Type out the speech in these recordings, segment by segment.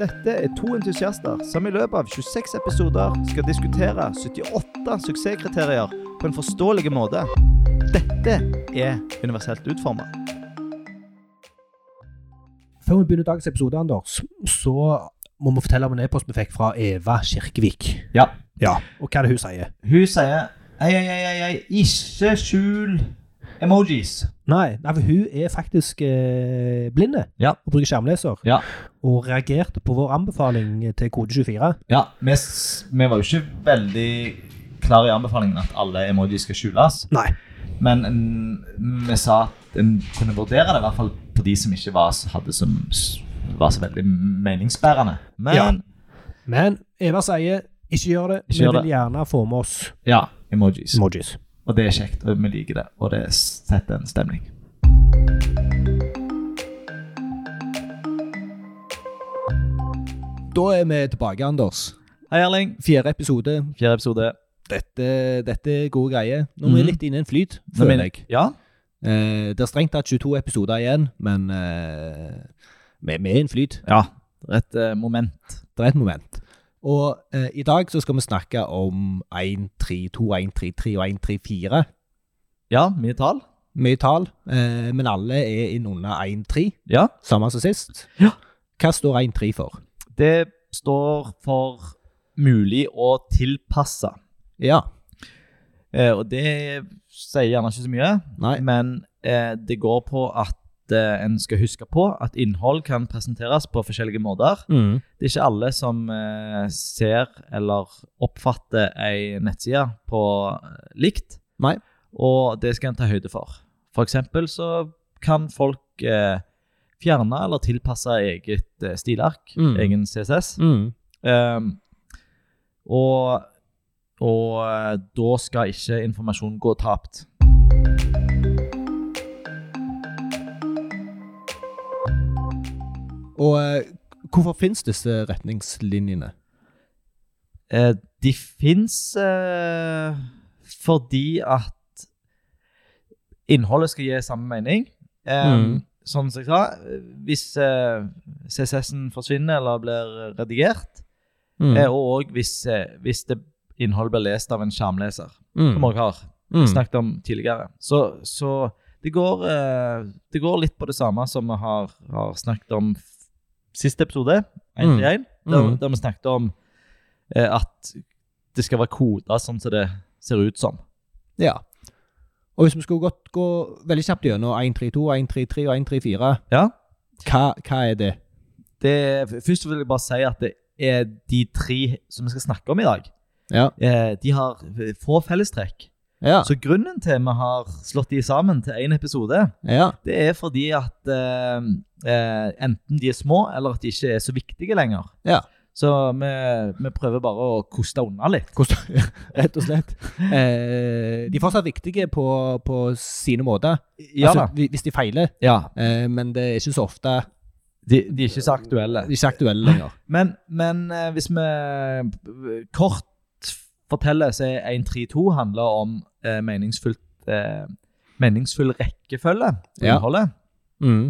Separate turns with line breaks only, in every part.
Dette er to entusiaster som i løpet av 26 episoder skal diskutere 78 suksesskriterier på en forståelig måte. Dette er universelt utforma.
Før vi begynner dagens episode, Anders, så må vi fortelle om en e-post vi fikk fra Eva Kirkevik.
Ja.
Ja, Og hva er det hun sier?
Hun sier Ei, ei, ei, ei, ei, ikke skjul emojis.
Nei, nei for hun er faktisk eh, blinde
Ja.
og bruker skjermleser.
Ja.
Og reagerte på vår anbefaling til kode 24.
Ja, vi, s- vi var jo ikke veldig klare i anbefalingen at alle emojis skal skjules,
Nei.
men mm, vi sa at en kunne vurdere det, i hvert fall på de som ikke var, s- hadde som, s- var så veldig meningsbærende. Men ja,
Ja. Men Eva sier ikke gjør det.
Ikke
vi
gjør
vil gjerne få med oss
emojis.
emojis.
Og det er kjekt, og vi liker det, og det setter en stemning.
Da er vi tilbake, Anders.
Hei, Erling.
Fjerde episode.
Fjerde episode.
Dette, er gode greier. Nå
er vi
litt inne i en flyt,
Nå mener- Ja,
Eh, det er strengt tatt 22 episoder igjen, men eh, vi er i en flyt.
ja. Rett eh, moment.
Det er et moment. Og eh, i dag så skal vi snakke om 1, 3, 2, 1, 3, 3 og 1, 3, 4.
Ja, mye tall.
Mye tall, eh, men alle er inn under 1, 3,
Ja.
samme som sist.
Ja.
Hva står 1, 3 for?
Det står for mulig å tilpasse.
Ja,
Eh, og det sier gjerne ikke så mye.
nei,
Men eh, det går på at eh, en skal huske på at innhold kan presenteres på forskjellige måter.
mm.
Det er ikke alle som eh, ser eller oppfatter ei nettside på eh, likt.
Nei.
Og det skal en ta høyde for. For eksempel så kan folk eh, fjerne eller tilpasse eget eh, stilark,
Mm.
egen CSS.
Mm.
Um, og, og eh, da skal ikke informasjon gå tapt.
Og eh, hvorfor finnes disse retningslinjene?
Eh, de fins eh, fordi at innholdet skal gi samme mening. Eh,
Mm.
Sånn som jeg sa, hvis eh, CSS-en forsvinner eller blir redigert,
Mm.
eh, og også hvis, eh, hvis det innholdet blir lest av en skjermleser,
Mm.
som også har
Mm.
snakket om tidligere. Så, så det, går, eh, det går litt på det samme som vi har, har snakket om f- siste episode, 131, der,
Mm.
der vi snakket om eh, at det skal være koder sånn som det ser ut som.
Ja. Og hvis vi skulle gått, gå veldig kjapt gjennom 1, 3, 2, 1, 3, 3 og 1, 3, 4,
Ja.
hva, hva er det?
Det, først vil jeg bare si at det er de tre som vi skal snakke om i dag,
Ja.
eh, de har få fellestrekk.
Ja.
Så grunnen til vi har slått de sammen til én episode,
ja.
det er fordi at eh, eh, enten de er små, eller at de ikke er så viktige lenger.
Ja.
Så vi, vi prøver bare å koste unna litt.
Hvordan, rett og slett. Eh, de er fortsatt viktige på, på sine måter.
Ja
altså,
da.
hvi- hvis de feiler,
Ja,
eh, men det er ikke så ofte
de, de er ikke så aktuelle.
de er ikke aktuelle lenger.
Men, men eh, hvis vi kort forteller, så er 132 handler om eh, meningsfullt, eh, meningsfull rekkefølge på
Ja.
innholdet.
Mm.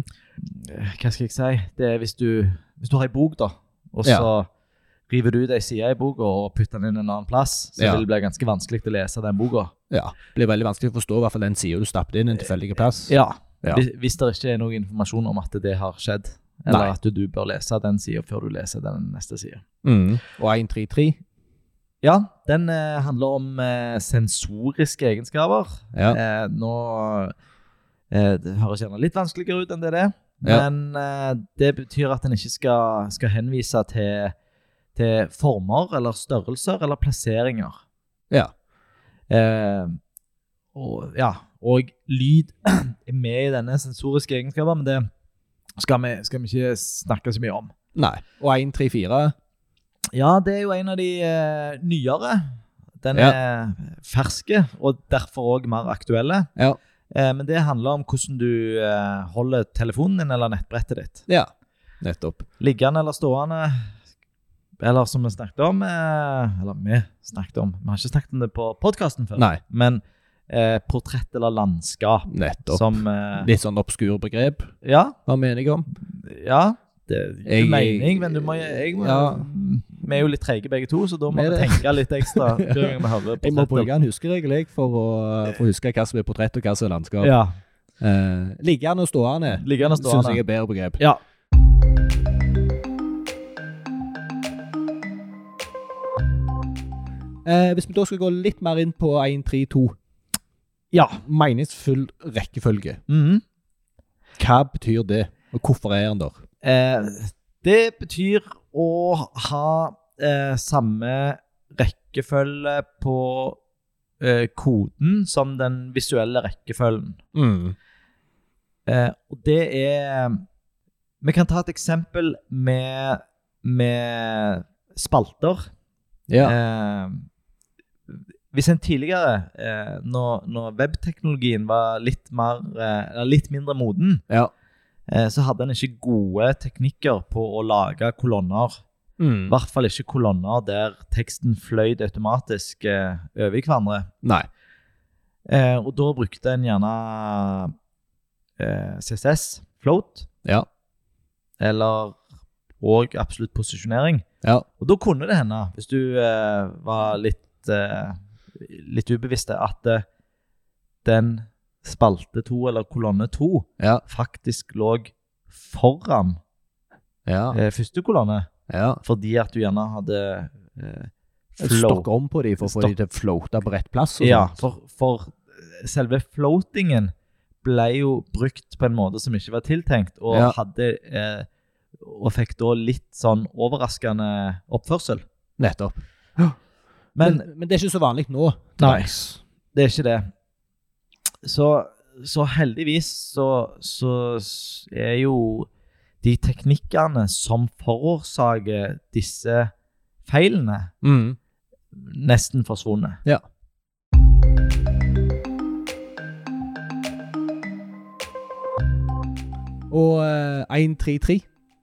Eh, Hva skal jeg si? Det er hvis du, hvis du har ei bok, da, og
Ja.
så river du ut ei side i boka og putter den inn en annen plass, så
Ja.
vil det bli ganske vanskelig å lese den boka.
Ja. Det blir veldig vanskelig å forstå i hvert fall den sida du stappet inn en tilfeldig plass.
Ja.
Ja.
Hvis, hvis det ikke er noe informasjon om at det har skjedd, eller
Nei.
at du, du bør lese den sida før du leser den neste sida.
Mm. Og 133.
Ja, den eh, handler om eh, sensoriske egenskaper.
Ja.
Eh, nå eh, Det høres gjerne litt vanskeligere ut enn det det er,
Ja.
men eh, det betyr at en ikke skal, skal henvise til, til former eller størrelser eller plasseringer.
Ja.
Eh, og, ja, og lyd er med i denne sensoriske egenskapen, men det skal vi, skal vi ikke snakke så mye om.
Nei. Og 134.
Ja, det er jo en av de eh, nyere. Den
Ja.
er ferske, og derfor òg mer aktuelle.
Ja.
Eh, men det handler om hvordan du eh, holder telefonen din eller nettbrettet ditt.
Ja. Nettopp.
Liggende eller stående, eller som vi snakket om eh, Eller vi snakket om, vi har ikke snakket om det på podkasten før.
Nei.
Men eh, portrett eller landskap
Nettopp.
som eh,
Litt sånn obskur begrep,
Ja.
hva mener jeg om?
ja det gir
Jeg-
mening, men du må, jeg må
Ja.
Vi er jo litt treige begge to, så da må
Vi er
vi
det.
tenke litt ekstra. hver gang vi hører
Jeg må
portrettet.
bruke en huskeregel jeg, for å for å huske hva som er portrett og hva som er landskap.
Ja.
Eh, liggende og stående
Liggende og
syns
stående.
jeg er bedre begrep.
Ja.
Eh, hvis vi da skal gå litt mer inn på 1-3-2
Ja.
Meningsfull rekkefølge.
Mhm.
Hva betyr det, og hvorfor er den der?
Eh, det betyr å ha eh, samme rekkefølge på eh, koden som den visuelle rekkefølgen. Mm. Eh, og det er Vi kan ta et eksempel med, med spalter.
Ja.
Eh, hvis en tidligere, eh, når, når webteknologien var litt, mer, eh, eller litt mindre moden,
Ja.
eh, så hadde en ikke gode teknikker på å lage kolonner. I hvert fall ikke kolonner der teksten fløyd automatisk eh, over i hverandre.
Nei.
Eh, og da brukte en gjerne eh, CSS, float,
Ja.
eller og absolutt posisjonering.
Ja.
Og da kunne det hende, hvis du eh, var litt, eh, litt ubevisste, at eh, den spalte to, eller kolonne to,
Ja.
faktisk lå foran
Ja.
eh, første kolonne,
ja.
fordi at du gjerne hadde eh,
Stokk om på dem for å få
Stokk.
dem til å floate på rett plass. og sånn.
Ja, for,
sånt.
for eh, selve floatingen ble jo brukt på en måte som ikke var tiltenkt, og
Ja.
hadde eh, og fikk da litt sånn overraskende oppførsel.
Nettopp. Men,
Men
men, det er ikke så vanlig nå.
Nei.
Nice.
det er ikke det. Så, så heldigvis så, så s- er jo de teknikkene som forårsaker disse feilene,
Mm.
nesten forsvunnet.
Ja. Og eh, 1-3-3,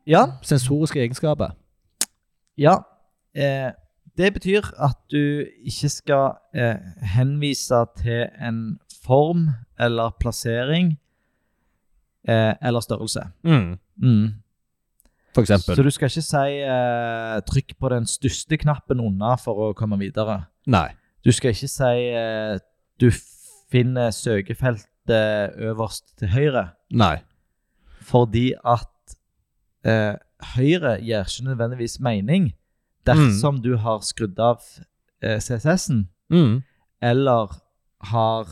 Ja,
sensoriske egenskaper.
Ja. Eh, det betyr at du ikke skal eh, henvise til en form eller plassering eh, eller størrelse. Mm.
For eksempel.
Så du skal ikke si eh, 'trykk på den største knappen unna' for å komme videre.
Nei.
Du skal ikke si eh, 'du finner søkefeltet øverst til høyre',
Nei.
fordi at eh, høyre gir ikke nødvendigvis mening dersom du har skrudd av eh, CSS-en Mm. eller har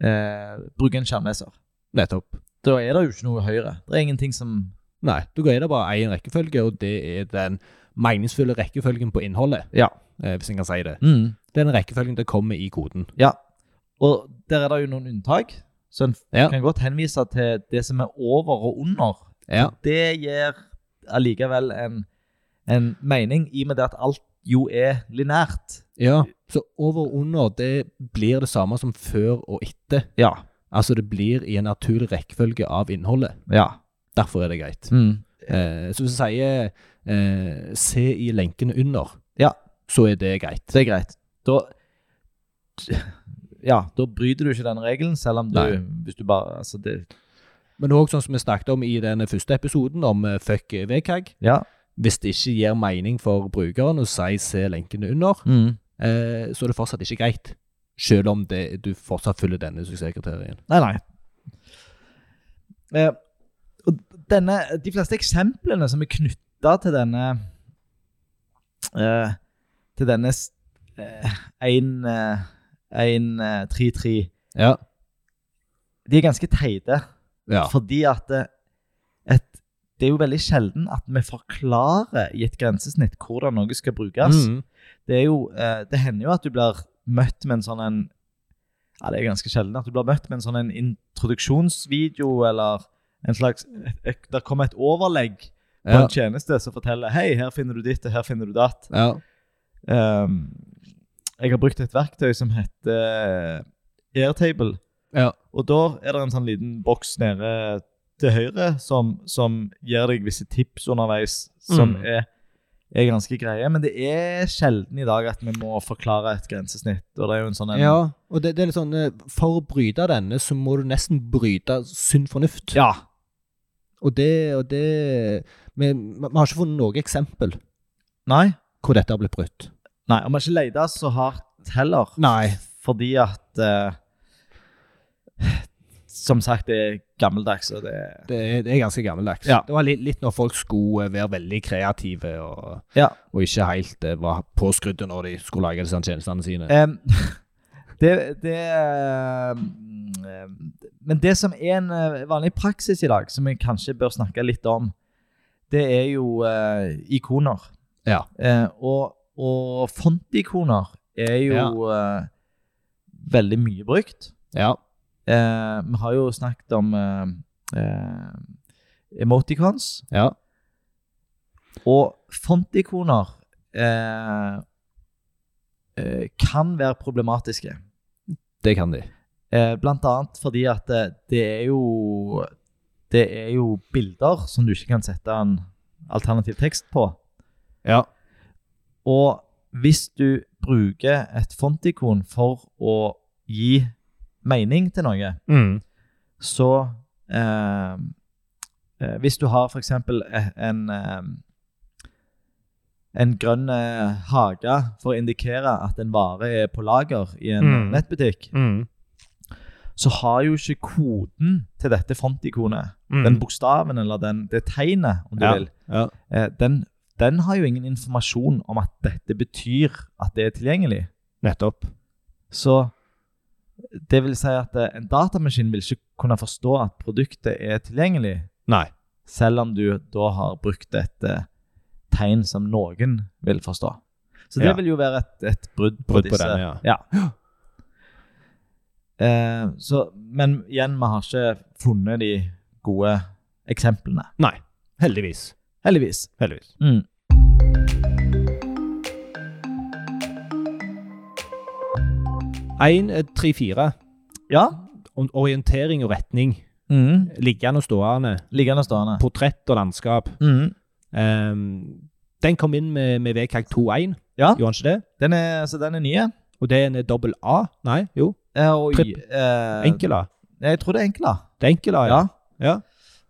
eh, bruker en skjermleser.
Nettopp.
Da er det jo ikke noe høyre. Det er ingenting som
Nei. Du går inn i bare én rekkefølge, og det er den meningsfulle rekkefølgen på innholdet.
Ja.
eh, Hvis en kan si det.
mm,
Den rekkefølgen det kommer i koden.
Ja. Og der er det jo noen unntak, så en f-
Ja.
kan godt henvise til det som er over og under.
Ja.
Det gir allikevel en, en mening, i og med det at alt jo er lineært.
ja. Så over og under, det blir det samme som før og etter.
Ja.
Altså det blir i en naturlig rekkefølge av innholdet.
ja.
Derfor er det greit.
Mm.
Eh, så hvis du sier eh, se i lenkene under,
Ja.
så er det greit.
Det er greit. Da ja, da bryter du ikke den regelen, selv om du
Nei.
Hvis du bare Altså, det
Men òg sånn som vi snakket om i den første episoden, om eh, fuck VKG.
Ja.
Hvis det ikke gir mening for brukeren å si se lenkene under, eh, så er det fortsatt ikke greit. Selv om det, du fortsatt følger denne suksesskriterien.
Nei, nei. Eh, og denne, de fleste eksemplene som er knytta til denne eh, Til denne s- eh, 1 eh, 1-3-3,
Ja.
de er ganske teite.
ja.
Fordi at eh, et, Det er jo veldig sjelden at vi forklarer i et grensesnitt hvordan noe skal brukes.
Mm.
det er jo eh, Det hender jo at du blir møtt med en sånn en Ja, det er ganske sjelden at du blir møtt med en sånn en introduksjonsvideo eller en slags et- Der kommer et overlegg på
Ja.
en tjeneste som forteller Hei, her finner du ditt, og her finner du datt.
ja.
Ehm, jeg har brukt et verktøy som heter Airtable.
Ja.
Og da er det en sånn liten boks nede til høyre som, som gir deg visse tips underveis, som
Mm.
er, er ganske greie. Men det er sjelden i dag at vi må forklare et grensesnitt. Og det er jo en sånn en,
Ja, og det, det er litt sånn eh, For å bryte denne, så må du nesten bryte sunn fornuft.
Ja,
Og det, og det vi, vi har ikke funnet noe eksempel
Nei.
hvor dette har blitt brutt.
Nei, og vi har ikke leita så hardt heller,
Nei.
fordi at eh, Som sagt, det er gammeldags, og det
Det er, det er ganske gammeldags.
Ja.
Det var litt, litt når folk skulle eh, være veldig kreative og,
Ja.
og ikke helt eh, var påskrudde når de skulle lage disse tjenestene sine.
Em, det, det em, em, Men det som er en eh, vanlig praksis i dag, som jeg kanskje bør snakke litt om, det er jo eh, ikoner.
Ja.
Eh, og og fontikoner er jo eh, veldig mye brukt.
Ja.
Eh, vi har jo snakket om eh, eh, emoticons.
ja.
Og fontikoner eh, eh, kan være problematiske.
Det kan de.
Eh, Blant annet fordi at eh, det er jo Det er jo bilder som du ikke kan sette en alternativ tekst på.
Ja.
Og hvis du bruker et fontikon for å gi mening til noe,
Mm.
så eh, eh, Hvis du har f.eks. en eh, en grønn eh, hage for å indikere at en vare er på lager i en
Mm.
nettbutikk,
Mm.
så har jo ikke koden til dette fontikonet,
Mm.
den bokstaven eller den, det tegnet, om du
ja.
vil,
Ja.
eh, den, den har jo ingen informasjon om at dette betyr at det er tilgjengelig.
Nettopp.
Så det vil si at eh, en datamaskin vil ikke kunne forstå at produktet er tilgjengelig,
Nei.
selv om du da har brukt et eh, tegn som noen vil forstå. Så det
Ja.
vil jo være et, et brudd på
Brudd på
disse.
den, ja.
Eh, så, men igjen, vi har ikke funnet de gode eksemplene.
Nei. Heldigvis.
Heldigvis.
Heldigvis.
Mm.
Én, eh, tre, fire.
Ja.
Om Orientering og retning.
Mm.
Liggende og stående.
Liggende og stående.
Portrett og landskap.
Mm.
Ehm, den kom inn med, med VKG 2.1,
Ja.
gjorde den ikke det?
Den er, så den er ny. ja.
Og det er en eh, dobbel A? Nei, jo.
Eh, og i-
Tripp.
eh,
Enkel A.
Jeg tror det er enkel, da.
Det er enkel A, ja. Ja.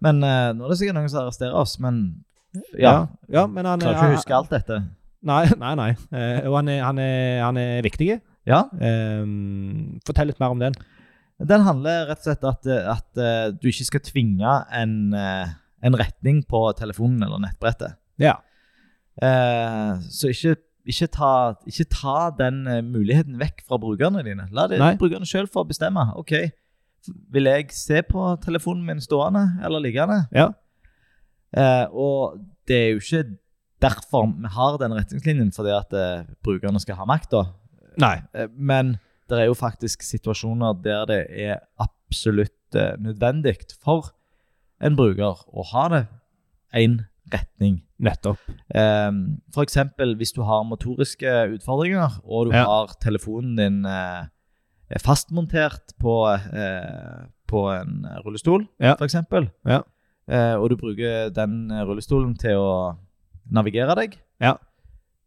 Men eh, nå er det sikkert noen som arresterer oss, men
Ja,
ja.
ja, men han
Klarer ikke å huske alt dette.
Nei, nei. nei. Eh, og han er, han er, han er viktig.
Ja.
Ehm, fortell litt mer om den.
Den handler rett og slett at, eh, at eh, du ikke skal tvinge en, eh, en retning på telefonen eller nettbrettet.
Ja.
Eh, så ikke, ikke, ta, ikke ta den eh, muligheten vekk fra brukerne dine. La det,
Nei.
brukerne sjøl få bestemme. OK, vil jeg se på telefonen min stående eller liggende?
Ja.
Eh, og det er jo ikke derfor vi har den retningslinjen, fordi at eh, brukerne skal ha makt, da.
Nei.
Eh, men det er jo faktisk situasjoner der det er absolutt eh, nødvendig for en bruker å ha det én retning.
Nettopp.
Um, for eksempel hvis du har motoriske utfordringer, og du
Ja.
har telefonen din eh, er fastmontert på, eh, på en rullestol,
Ja.
for eksempel,
Ja.
Eh, og du bruker den eh, rullestolen til å navigere deg,
Ja.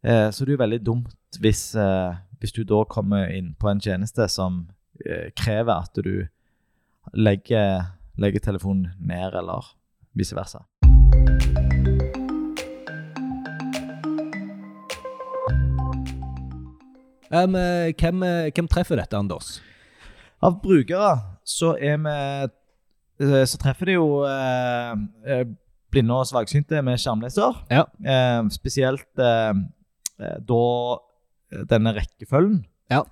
Eh, så det er jo veldig dumt hvis, eh, hvis du da kommer inn på en tjeneste som eh, krever at du legger, legger telefonen ned, eller vice versa.
Ehm, eh, hvem, eh, hvem treffer dette, Anders?
Av brukere så er vi eh, Så treffer det jo eh, eh, blinde og svaksynte med skjermleser.
Ja.
Eh, spesielt eh, eh, da eh, denne rekkefølgen
Ja.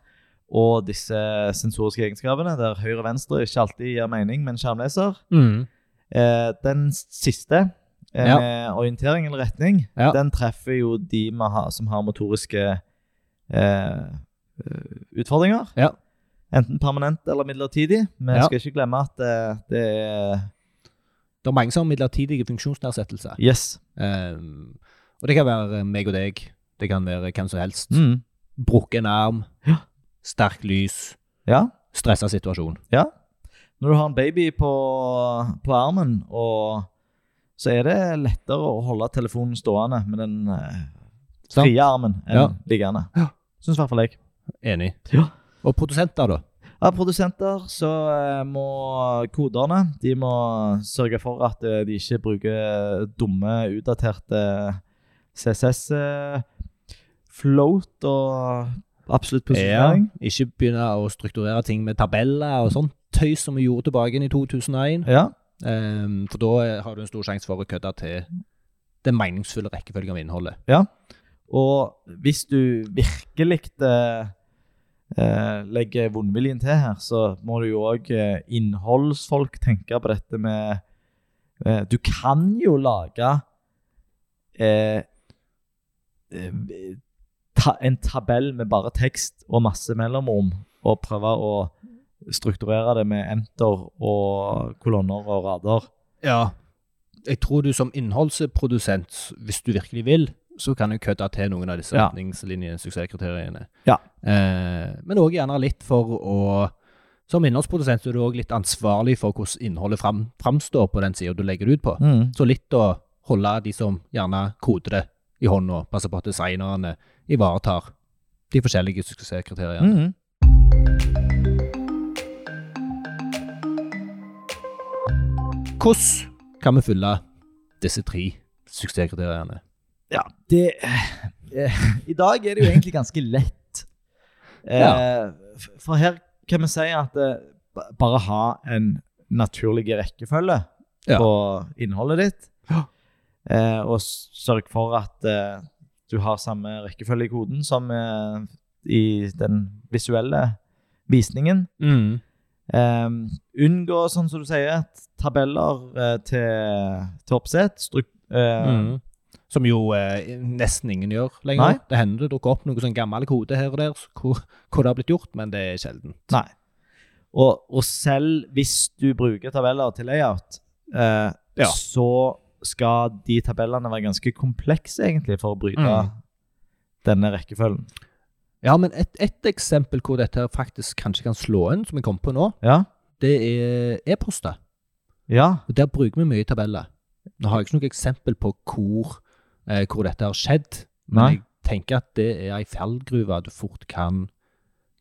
og disse sensoriske egenskapene, der høyre og venstre ikke alltid gir mening med en skjermleser. Eh, den siste, eh,
Ja.
med orientering eller retning,
Ja.
den treffer jo de vi har, som har motoriske eh, eh, utfordringer.
Ja.
Enten permanent eller midlertidig. Vi
Ja.
skal ikke glemme at eh, det er
Det er mange som har midlertidige funksjonsnedsettelser.
Yes.
Ehm, og det kan være meg og deg. Det kan være hvem som helst.
Mm.
Brukken arm.
Ja.
Sterkt lys.
Ja.
Stressa situasjon.
Når du har en baby på, på armen, og så er det lettere å holde telefonen stående med den eh,
Sant.
frie armen enn
Ja.
liggende.
Ja.
Syns i hvert fall jeg.
Enig.
Ja.
Og produsenter, da?
Av produsenter så eh, må koderne de må sørge for at eh, de ikke bruker dumme, utdaterte CSS-float eh, og absolutt
Ja,
posisjonering.
ikke begynne å strukturere ting med tabeller og sånn tøys som vi gjorde tilbake igjen i 2001.
Ja.
Ehm, for da har du en stor sjanse for å kødde til den meningsfulle rekkefølgen av innholdet.
Og hvis du virkelig eh, eh, legger vondviljen til her, så må du jo òg eh, innholdsfolk tenke på dette med eh, Du kan jo lage eh, eh, ta, en tabell med bare tekst og masse mellomrom, og prøve å strukturere det med enter og kolonner og rader.
Ja. Jeg tror du som innholdsprodusent, hvis du virkelig vil, så kan du kødde til noen av disse
Ja.
retningslinjene, suksesskriteriene.
Ja.
Eh, men òg gjerne litt for å Som innholdsprodusent så er du òg litt ansvarlig for hvordan innholdet fram, framstår på den sida du legger det ut på. Så litt å holde de som gjerne koder det, i hånda. Passe på at designerne ivaretar de forskjellige suksesskriteriene.
Mhm.
Hvordan kan vi fylle disse tre suksesskriteriene?
Ja, det eh, I dag er det jo egentlig ganske lett. Eh,
Ja.
f- For her kan vi si at eh, ba- bare ha en naturlig rekkefølge
Ja.
på innholdet ditt.
Ja.
Eh, og s- sørg for at eh, du har samme rekkefølge i koden som eh, i den visuelle visningen. Mm. Um, unngå, sånn som du sier, tabeller eh, til, til oppsett. Struk, eh,
Mm. Som jo eh, nesten ingen gjør lenger.
Nei.
Det hender det dukker opp noe sånn gammel kode her og der s- hvor, hvor det har blitt gjort, men det er sjelden.
Nei. Og, og selv hvis du bruker tabeller til layout, eh,
Ja.
så skal de tabellene være ganske komplekse egentlig for å bryte
Mm.
denne rekkefølgen.
Ja, men et, et eksempel hvor dette her faktisk kanskje kan slå inn, som jeg kom på nå,
Ja.
det er e-poster.
Ja.
Og Der bruker vi mye tabeller. Nå har jeg ikke noe eksempel på hvor, eh, hvor dette har skjedd, men
Nei.
jeg tenker at det er ei fallgruve du fort kan,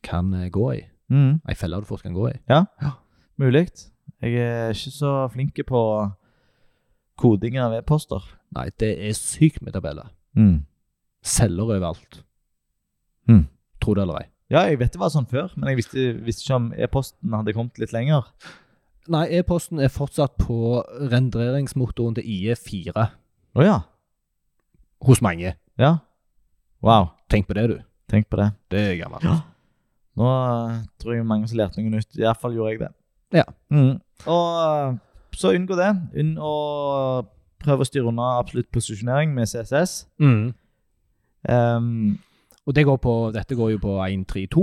kan eh, gå i.
Mm.
Ei felle du fort kan gå i.
Mulig. Jeg er ikke så flink på koding av e-poster.
Nei, det er sykt med tabeller. Celler overalt.
Mm.
Tro det eller ei.
Ja, jeg vet det var sånn før, men jeg visste, visste ikke om e-posten hadde kommet litt lenger.
Nei, e-posten er fortsatt på rendreringsmotoren til IE4
Å ja.
hos mange.
Ja. Wow.
Tenk på det, du.
Tenk på det.
Det er gammelt.
Ja. Nå eh, tror jeg mange som lærte noe nytt. I hvert fall gjorde jeg det.
Ja.
Mm. Og eh, så unngå det. Unn å prøve å styre unna absolutt posisjonering med CSS.
Mm.
Ehm,
Og det går på, dette går jo på 132,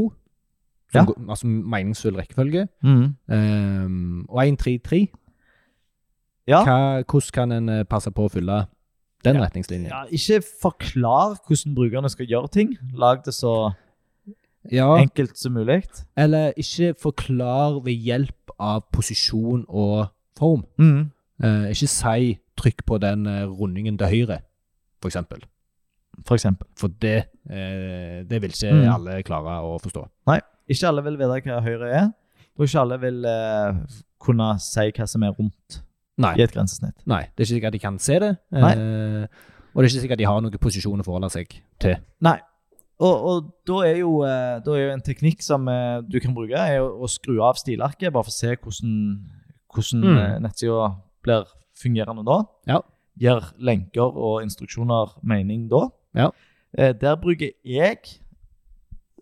som
Ja.
går, altså meningsfull rekkefølge.
mm.
Ehm, og 133,
Ja.
Hva, hvordan kan en eh, passe på å fylle den retningslinjen?
ja. Ikke forklar hvordan brukerne skal gjøre ting. Lag det så
Ja,
enkelt som mulig.
eller ikke forklar ved hjelp av posisjon og form.
Mm.
Eh, ikke si 'trykk på den eh, rundingen til høyre', for eksempel.
For eksempel.
For det, eh, det vil ikke
Mm.
alle klare å forstå.
Ikke alle vil vite hva høyre er, og ikke alle vil eh, kunne si hva som er rundt
Nei.
i et grensesnitt.
Nei, det er ikke sikkert de kan se det.
Nei.
Eh, og det er ikke sikkert de har noen posisjon å forholde seg til.
Og, og da, er jo, eh, da er jo en teknikk som eh, du kan bruke, er å, å skru av stilarket, bare for å se hvordan, hvordan
Mm.
eh, nettsida blir fungerende da.
Ja.
Gjør lenker og instruksjoner mening da.
Ja.
Eh, der bruker jeg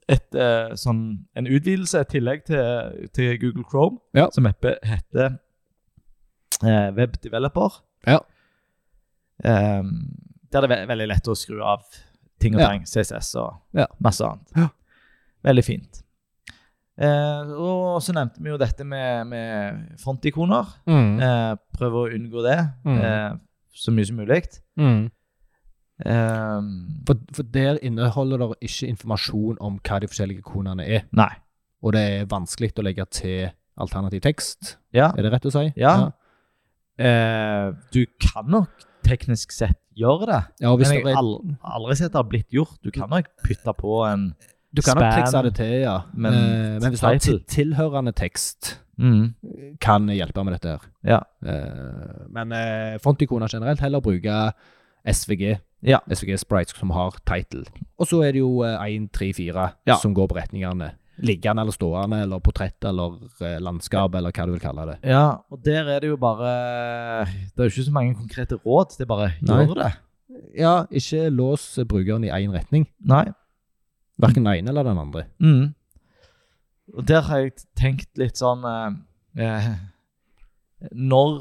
et, eh, sånn, en utvidelse, et tillegg til, til Google Chrome,
Ja.
som heppe- heter eh, Web Developer.
Ja.
Eh, der det er ve veldig lett å skru av ting og
Ja.
tang, CSS og
Ja.
masse annet.
Ja.
Veldig fint. Eh, og så nevnte vi jo dette med, med frontikoner. Eh, prøve å unngå det
Mm.
eh, så mye som mulig.
Mm.
Eh,
For, for der inneholder det ikke informasjon om hva de forskjellige konene er.
nei.
Og det er vanskelig å legge til alternativ tekst,
Ja.
er det rett å si?
Ja. Eh, du kan nok teknisk sett gjøre det,
Ja, og hvis
men jeg
det
har
er,
aldri, aldri sett det har blitt gjort. Du kan nok putte på en
Du kan nok
Spam,
trikse det til, ja.
men
Men, men hvis du har
title.
til- tilhørende tekst,
Mm.
kan hjelpe med dette her.
Ja.
Eh, men eh, fontikoner generelt heller bruke SVG.
Ja.
SVG Sprites som har title. Og så er det jo eh, 1, 3, 4
Ja.
som går på retningene. Liggende eller stående, eller portrett eller eh, landskap, eller hva du vil kalle det.
ja, og der er det jo bare Det er jo ikke så mange konkrete råd. Det er bare
Nei.
gjør det.
Ja, ikke lås brukeren i én retning.
Nei.
Verken den ene eller den andre.
Mm. Og der har jeg tenkt litt sånn eh, eh, Når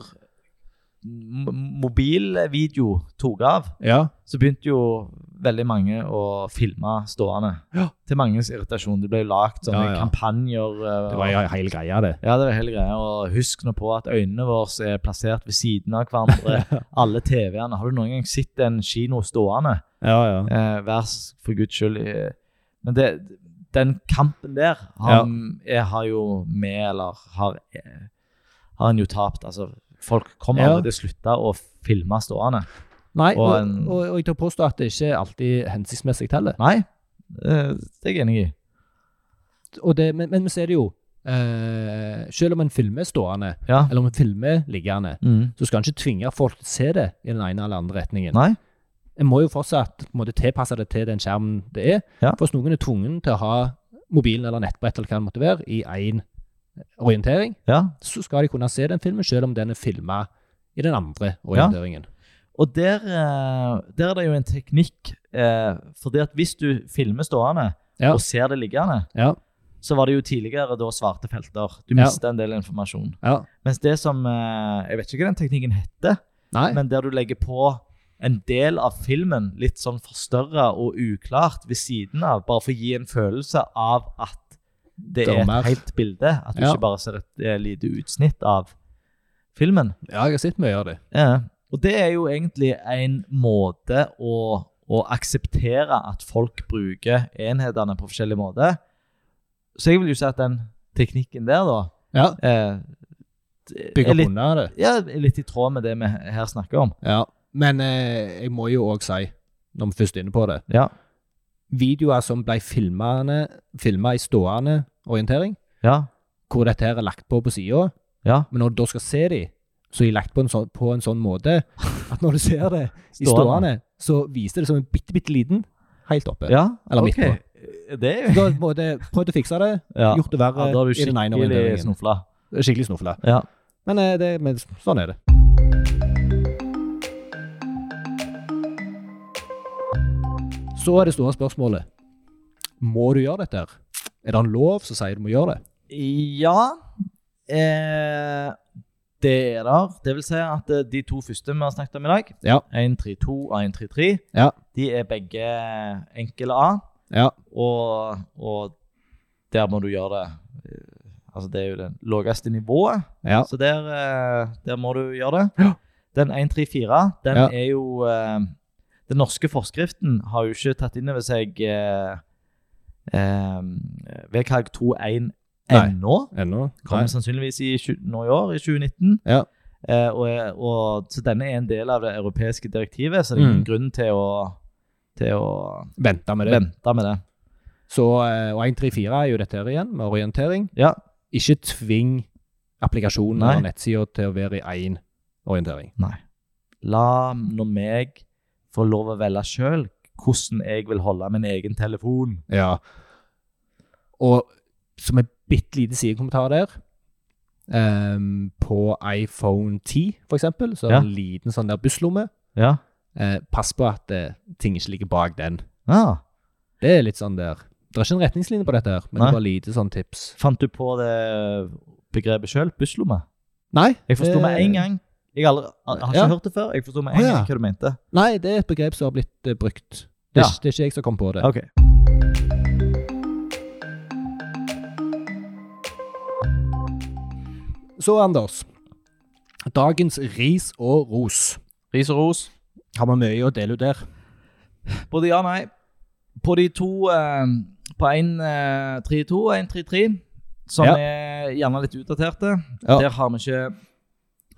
m- mobilvideo tok av,
Ja.
så begynte jo veldig mange å filme stående.
Ja.
Til manges irritasjon. Det ble lagd sånne
Ja, ja.
kampanjer. eh,
Det var jo hele greia, det.
Ja, det var hele greia. Og husk nå på at øynene våre er plassert ved siden av hverandre. Alle TV-ene. Har du noen gang sett en kino stående?
Ja, ja.
Eh, vær s- for guds skyld. eh, Men det, den kampen der han, jeg har jo med, eller har, eh, har han jo tapt. Altså, folk kommer
Ja.
aldri til å slutte å filme stående.
Nei, og,
Og
og,
en-
og, jeg tør påstå at det ikke alltid hensiktsmessig heller.
Nei, eh, det er jeg enig i.
Og det, men, men vi ser det jo. Eh, selv om en film er stående,
Ja.
eller om en film er liggende,
Mm.
så skal en ikke tvinge folk til å se det i den ene eller andre retningen.
Nei.
En må jo fortsatt på en måte, tilpasse det til den skjermen det er.
Ja.
For hvis noen er tvungen til å ha mobilen eller nettbrett eller hva det måtte være, i én orientering,
Ja.
så skal de kunne se den filmen, selv om den er filma i den andre orienteringen.
Og der, eh, der er det jo en teknikk. Eh, fordi at hvis du filmer stående
Ja.
og ser det liggende,
Ja.
så var det jo tidligere da svarte felter. Du
Ja.
mista en del informasjon.
ja.
Mens det som eh, Jeg vet ikke hva den teknikken heter.
Nei.
men der du legger på en del av filmen litt sånn forstørra og uklart ved siden av, bare for å gi en følelse av at det
Det er
er
mer.
et helt bilde. At du
Ja.
ikke bare ser et eh, lite utsnitt av filmen.
ja, jeg har sett mye av det.
Ja. Og det er jo egentlig en måte å, å akseptere at folk bruker enhetene på forskjellig måte. Så jeg vil jo si at den teknikken der, da,
Ja.
eh,
Bygge
er
opp
litt,
under det.
ja, er litt i tråd med det vi her snakker om.
Ja, men eh, jeg må jo òg si, når vi først er inne på det
Ja.
Videoer som ble filma i stående orientering,
Ja.
hvor dette her er lagt på på sida,
Ja.
men når du da skal se de, så er de lagt på en, sånn, på en sånn måte at når du ser det i
Stående.
stående, så viser det som en bitte, bitte liten helt oppe.
Ja,
Eller midt
ok. Det er jo eh,
Da må det prøvd å fikse det,
ja.
gjort det verre
da har du
i den ene
skikkelig
orienteringen.
snufla.
Skikkelig snofla.
Ja.
Men, eh, det, men sånn er det. Så er det store spørsmålet. Må du gjøre dette? her? Er det en lov som sier du må gjøre det?
ja eh, det er der. Det vil si at eh, de to første vi har snakket om i dag,
Ja.
132 og 133,
Ja.
de er begge enkel A,
Ja.
og, og der må du gjøre det. eh, Altså, det er jo det laveste nivået,
Ja.
så der, eh, der må du gjøre det.
Ja.
Den 134, den
Ja.
er jo eh, Den norske forskriften har jo ikke tatt inn over seg eh, eh, VKG 2.1
Nei.
ennå.
Ennå?
Kommer sannsynligvis i, tju- nå i år, i 2019.
Ja.
Eh, og, er- og, så denne er en del av det europeiske direktivet, så det er ingen
Mm.
grunn til å, til å
Vente med det.
vente med det.
Så, eh, og 134 er jo dette her igjen, med orientering.
Ja.
Ikke tving applikasjonen
Nei.
eller nettsida til å være i én orientering.
La nå meg få lov å velge sjøl hvordan jeg vil holde min egen telefon.
Ja. Og som en bitte liten sidekommentar der ehm, På iPhone 10, for eksempel, så er det
Ja.
en liten sånn der busslomme.
Ja.
Eh, pass på at eh, ting ikke ligger bak den.
Ah,
Det er litt sånn der Det er ikke en retningslinje på dette, her, men
Nei.
det var lite sånn tips.
fant du på det begrepet sjøl? Busslomme?
Nei.
Jeg forsto
det-
med en gang. Jeg, aldri, jeg har ikke
Eh. Ja.
hørt det før. Jeg forsto med
Å,
en
ja.
gang hva du mente.
Nei, det er et begrep som har blitt eh, brukt. Det
Ja.
er, ikke, det er ikke jeg som kom på det.
Ok.
Så, Anders. Dagens ris og ros.
Ris og ros.
Har vi mye å dele ut der?
Både ja og nei. På de to eh, På eh, 132 og 133, som
Ja.
er gjerne litt utdaterte,
Ja.
der har vi ikke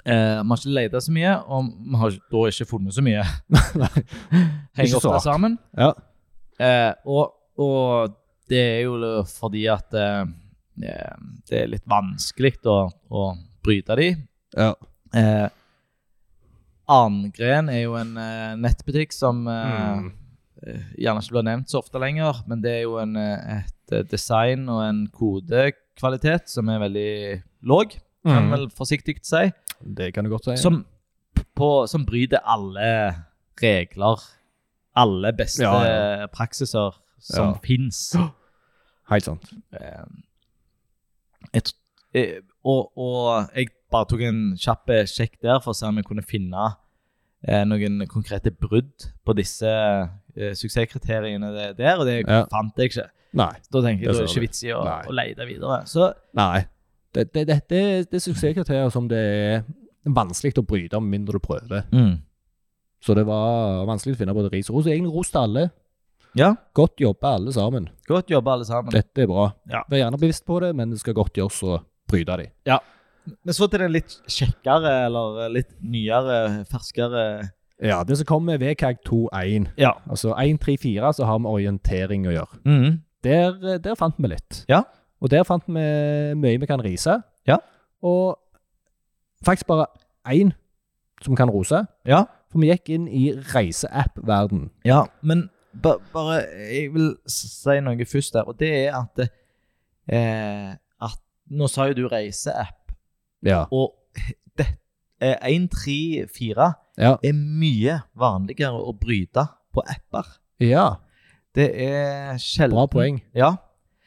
eh, Vi har ikke leta så mye, og vi har ikke- da ikke funnet så mye.
Nei.
Henger
Ikke så
ofte
rart.
sammen.
Ja.
Eh, og, og det er jo fordi at eh, det er litt vanskelig å, å bryte de.
Ja.
Eh, Arngren er jo en eh, nettbutikk som eh,
Mm.
eh, gjerne ikke blir nevnt så ofte lenger, men det er jo en, eh, et eh, design og en kodekvalitet som er veldig låg, kan
Mm.
man vel forsiktig si,
Det kan du godt si.
som, p- på, som bryter alle regler, alle beste
Ja, ja.
praksiser som
Ja.
finnes.
Helt sant.
Eh, jeg, tr- eh, og, og jeg bare tok en kjapp eh, sjekk der for å se om jeg kunne finne eh, noen konkrete brudd på disse eh, suksesskriteriene det- der, og det
Ja.
fant jeg ikke.
Nei.
Da tenkte jeg
Det
det
ser
er ikke
vi.
vits i å,
Nei.
å lete videre. Så
Nei. Det, det, det, det, det er suksesskriterier som det er vanskelig å bryte med mindre du prøver. Så det var vanskelig å finne både ris og ros. Egentlig ros til alle.
ja,
Godt jobba, alle sammen.
godt jobba, alle sammen.
Dette er bra.
Ja.
Vær gjerne bevisst på det, men det skal godt gjøres å bryte de.
Men så til den litt kjekkere eller eh, litt nyere, ferskere
Ja, det som kommer med VKG 2.1,
Ja.
altså 1.3.4, så har vi orientering å gjøre. Der, der fant vi litt.
Ja.
Og der fant vi mye vi kan rise.
Ja.
Og faktisk bare én som kan rose.
Ja.
For vi gikk inn i reiseapp-verden.
Ja, men ba, bare Jeg vil si noe først der, og det er at, eh, at Nå sa jo du reiseapp,
Ja.
og det, eh, 134
Ja.
er mye vanligere å bryte på apper.
ja.
Det er sjelden
Bra poeng.
Ja.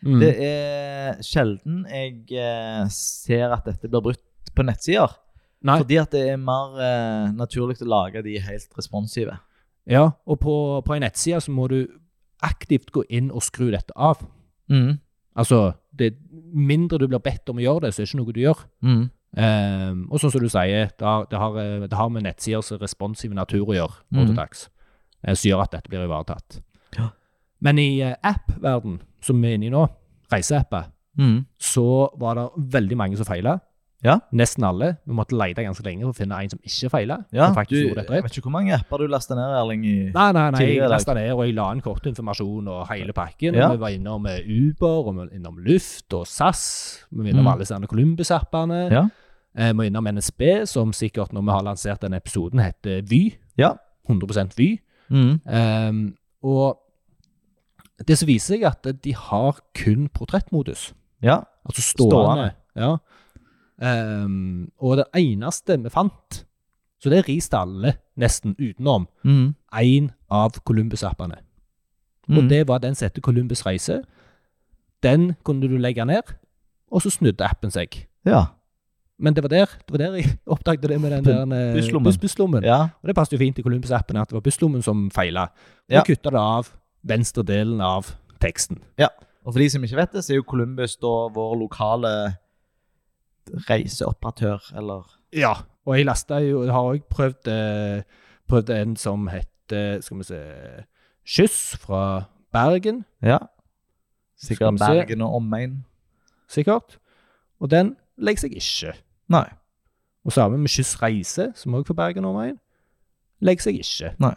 Mm.
Det er sjelden jeg eh, ser at dette blir brutt på nettsider.
Nei.
Fordi at det er mer eh, naturlig å lage de helt responsive.
Ja, og på, på en nettside så må du aktivt gå inn og skru dette av. Altså, det mindre du blir bedt om å gjøre det, så er det ikke noe du gjør.
Mm.
Ehm, og sånn som du sier, det har, det har, eh, det har med nettsiders responsive natur å gjøre, nå til
Mhm.
dags, eh, som gjør at dette blir ivaretatt.
Ja.
Men i eh, app-verden, som vi er inne i nå, reiseappet,
Mm.
så var det veldig mange som feila.
Ja.
Nesten alle. Vi måtte lete ganske lenge for å finne en som ikke feila.
Ja,
som
du,
faktisk gjorde dette
jeg
rett.
vet ikke hvor mange apper du lasta ned, Erling. I...
Nei, nei, nei, jeg
tidligere i dag.
lasta ned og jeg la inn kortinformasjon og hele pakken. og
Ja.
Vi var innom eh, Uber, og vi var innom Luft og SAS. Vi var innom
Mm.
alle disse Columbus-appene.
Ja.
Eh, Vi var innom NSB, som sikkert når vi har lansert denne episoden, heter Vy.
Ja.
100 Vy.
Mm.
Ehm, og det som viser seg, er at de har kun portrettmodus.
Ja.
Altså stående.
Stående.
Ja. Ehm, og det eneste vi fant, så det er ris til alle, nesten utenom,
Mm.
én av Columbus-appene. Og det var den som heter Columbus Reise. Den kunne du legge ned, og så snudde appen seg.
Ja.
Men det var der det var der jeg oppdaget det med den
Bu-
der eh,
busslommen.
buss- busslommen.
ja.
Og det passet jo fint i Columbus-appen at det var busslommen som feila.
Ja.
Ja. Kutta det av venstre delen av teksten.
Og for de som ikke vet det, så er jo Columbus da vår lokale reiseoperatør, eller
Ja. Og jeg lasta jo Jeg har òg prøvd, eh, prøvd en som heter Skal vi se Skyss fra Bergen,
Ja.
Skal vi
Sikkert
se.
Bergen og omegn.
sikkert. Og den legger seg ikke.
Nei.
Og sammen med Skyss Reise, som òg fra Bergen og omegn, legger seg ikke.
Nei.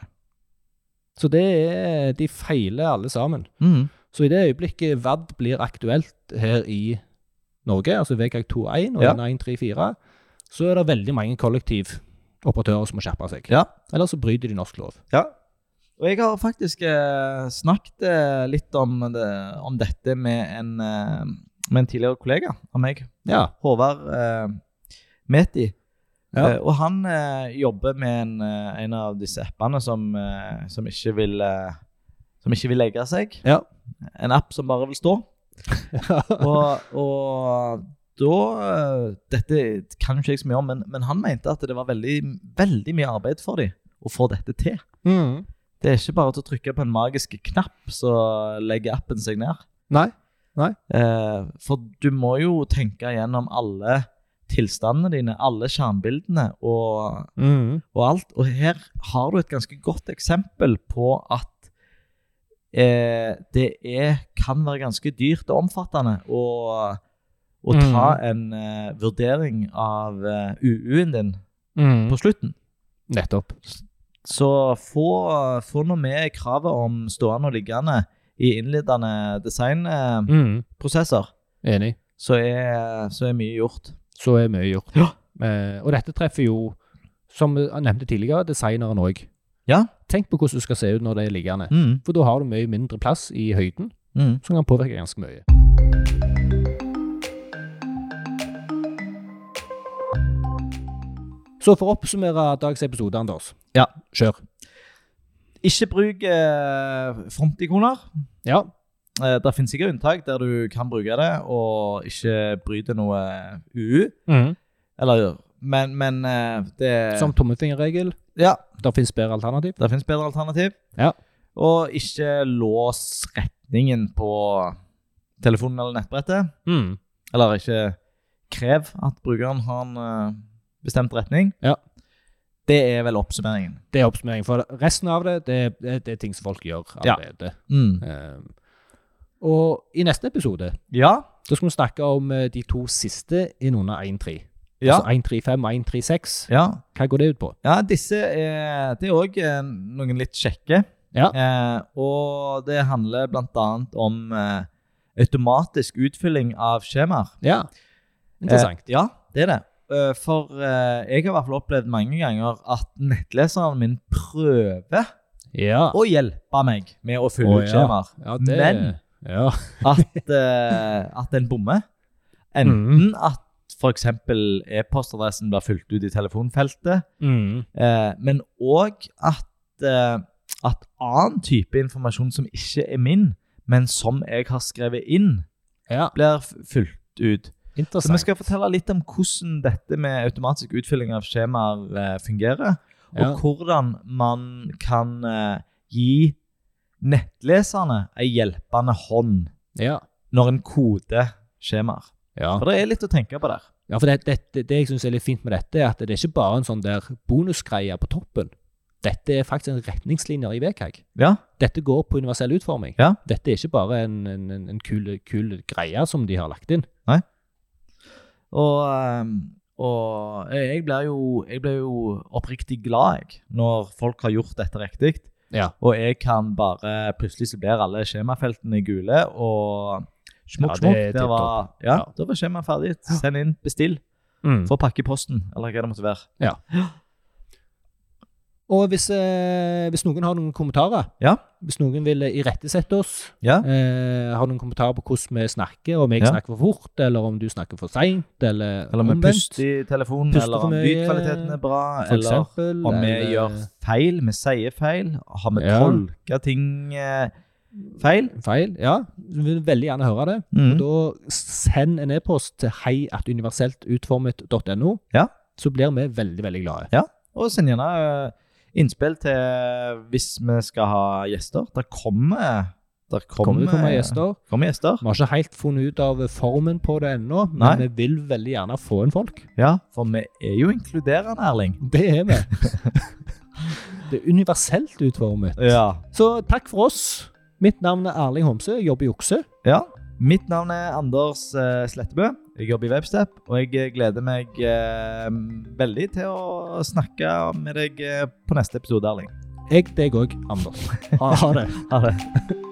Så det er De feiler alle sammen.
Mm.
Så i det øyeblikket VAD blir aktuelt her i Norge, altså VKG 2.1 og
Ja.
denne 134, så er det veldig mange kollektivoperatører som må skjerpe seg.
Ja.
Ellers så bryter de norsk lov.
Ja. Og jeg har faktisk eh, snakket eh, litt om, det, om dette med en, eh, med en tidligere kollega av meg,
Ja.
Håvard eh, Meti.
Ja.
Eh, og han eh, jobber med en, eh, en av disse appene som, eh, som, ikke vil, eh, som ikke vil legge seg.
Ja.
En app som bare vil stå. Og, og da eh, Dette kan jo ikke jeg så mye om, men, men han mente at det var veldig, veldig mye arbeid for dem å få dette til.
Mm.
Det er ikke bare til å trykke på en magisk knapp, så legger appen seg ned.
Nei.
Eh, for du må jo tenke gjennom alle tilstandene dine, alle skjermbildene og,
Mm.
og alt. Og her har du et ganske godt eksempel på at eh, det er, kan være ganske dyrt og omfattende å, å ta en eh, vurdering av eh, UU-en din
Mm.
på slutten.
Nettopp.
Så få, få noe med kravet om stående og liggende i innledende designprosesser,
Mm. Enig.
så, er- så er mye gjort.
Så er mye gjort.
Ja.
Eh, og dette treffer jo, som jeg nevnte tidligere, designeren òg.
Ja.
Tenk på hvordan du skal se ut når det er liggende.
Mm.
For da har du mye mindre plass i høyden,
Mm.
som kan påvirke ganske mye. Så for å oppsummere dagens episode, Anders.
Ja.
Kjør.
Ikke bruk eh, frontikoner.
Ja.
Eh, det finnes sikkert unntak der du kan bruke det og ikke bryte noe UU.
Mm.
Eller, men, men eh, det
Som tommefingerregel,
Ja,
det finnes bedre alternativ.
det finnes bedre alternativ.
Ja.
Og ikke lås retningen på telefonen eller nettbrettet.
Mm.
Eller ikke krev at brukeren har en eh, bestemt retning.
Ja.
Det er vel oppsummeringen.
Det er oppsummering. For resten av det, det, det, det er ting som folk gjør
Ja.
allerede.
Mm.
Ehm, og i neste episode
Ja.
da skal vi snakke om eh, de to siste innunder 1.3.
Ja.
Altså 1.35 og 1.36.
ja.
Hva går det ut på?
Ja, disse er, det er òg noen litt kjekke.
Ja.
Eh, og det handler bl.a. om eh, automatisk utfylling av skjemaer.
Ja. Interessant.
Eh, ja, det er det. Eh, for eh, jeg har i hvert fall opplevd mange ganger at nettleseren min prøver
ja.
å hjelpe meg med å fylle ut
Å, ja.
skjemaer.
ja det,
Men-
ja.
At, eh, at en bommer. Enten
Mm.
at f.eks. e-postadressen blir fylt ut i telefonfeltet,
Mm.
Eh, men òg at, eh, at annen type informasjon som ikke er min, men som jeg har skrevet inn,
ja.
blir f- fylt ut. Så vi
Interessant.
skal fortelle litt om hvordan dette med automatisk utfylling av skjemaer eh, fungerer, og
Ja.
hvordan man kan eh, gi nettleserne ei hjelpende hånd
Ja.
når en koder skjemaer.
Ja.
For det er litt å tenke på der.
ja, for det, det, det, det jeg syns er litt fint med dette, er at det er ikke bare en sånn der bonusgreie på toppen. Dette er faktisk en retningslinjer i VKG.
Ja.
Dette går på universell utforming.
Ja.
Dette er ikke bare en, en, en, en kul, kul greie som de har lagt inn.
Og, ehm, og jeg blir jo, jeg blir jo oppriktig glad jeg, når folk har gjort dette riktig.
Ja.
Og jeg kan bare Plutselig så blir alle skjemafeltene gule, og smukk,
Ja, det
smukk.
er
der,
tipp
var, ja,
Ja.
der var skjemaet ferdig. Send inn, bestill. Få pakke i posten, eller hva det måtte være.
Og hvis, eh, hvis noen har noen kommentarer,
Ja.
hvis noen vil eh, irettesette oss,
Ja.
eh, har noen kommentarer på hvordan vi snakker, om jeg
Ja.
snakker for fort, eller om du snakker for seint, eller,
Eller om vi
omvendt,
puster i telefonen,
Puster
eller
for
om
mye,
lydkvaliteten er bra,
for
eller
eksempel,
om vi
eller-
gjør feil, vi sier feil, har vi
Ja.
tolka ting eh, feil?
feil. Ja, vi vil veldig gjerne høre det.
Mm.
Og da send en e-post til heiatuniverseltutformet.no,
Ja.
så blir vi veldig, veldig glade.
Og send gjerne eh, innspill til hvis vi skal ha gjester. Der kommer der
Kommer
kommer,
det komme gjester?
kommer gjester.
Vi har ikke helt funnet ut av formen på det ennå, men
Nei.
vi vil veldig gjerne få inn folk.
Ja, for vi er jo inkluderende, Erling.
Det er vi. det er universelt utformet.
Ja.
Så takk for oss. Mitt navn er Erling Homse, jeg jobber i Okse.
ja. Mitt navn er Anders eh, Slettebø. Jeg jobber i Webstep, og jeg gleder meg eh, veldig til å snakke med deg eh, på neste episode, Erling.
Jeg deg òg, Anders. Ha, ha det.
Ha det.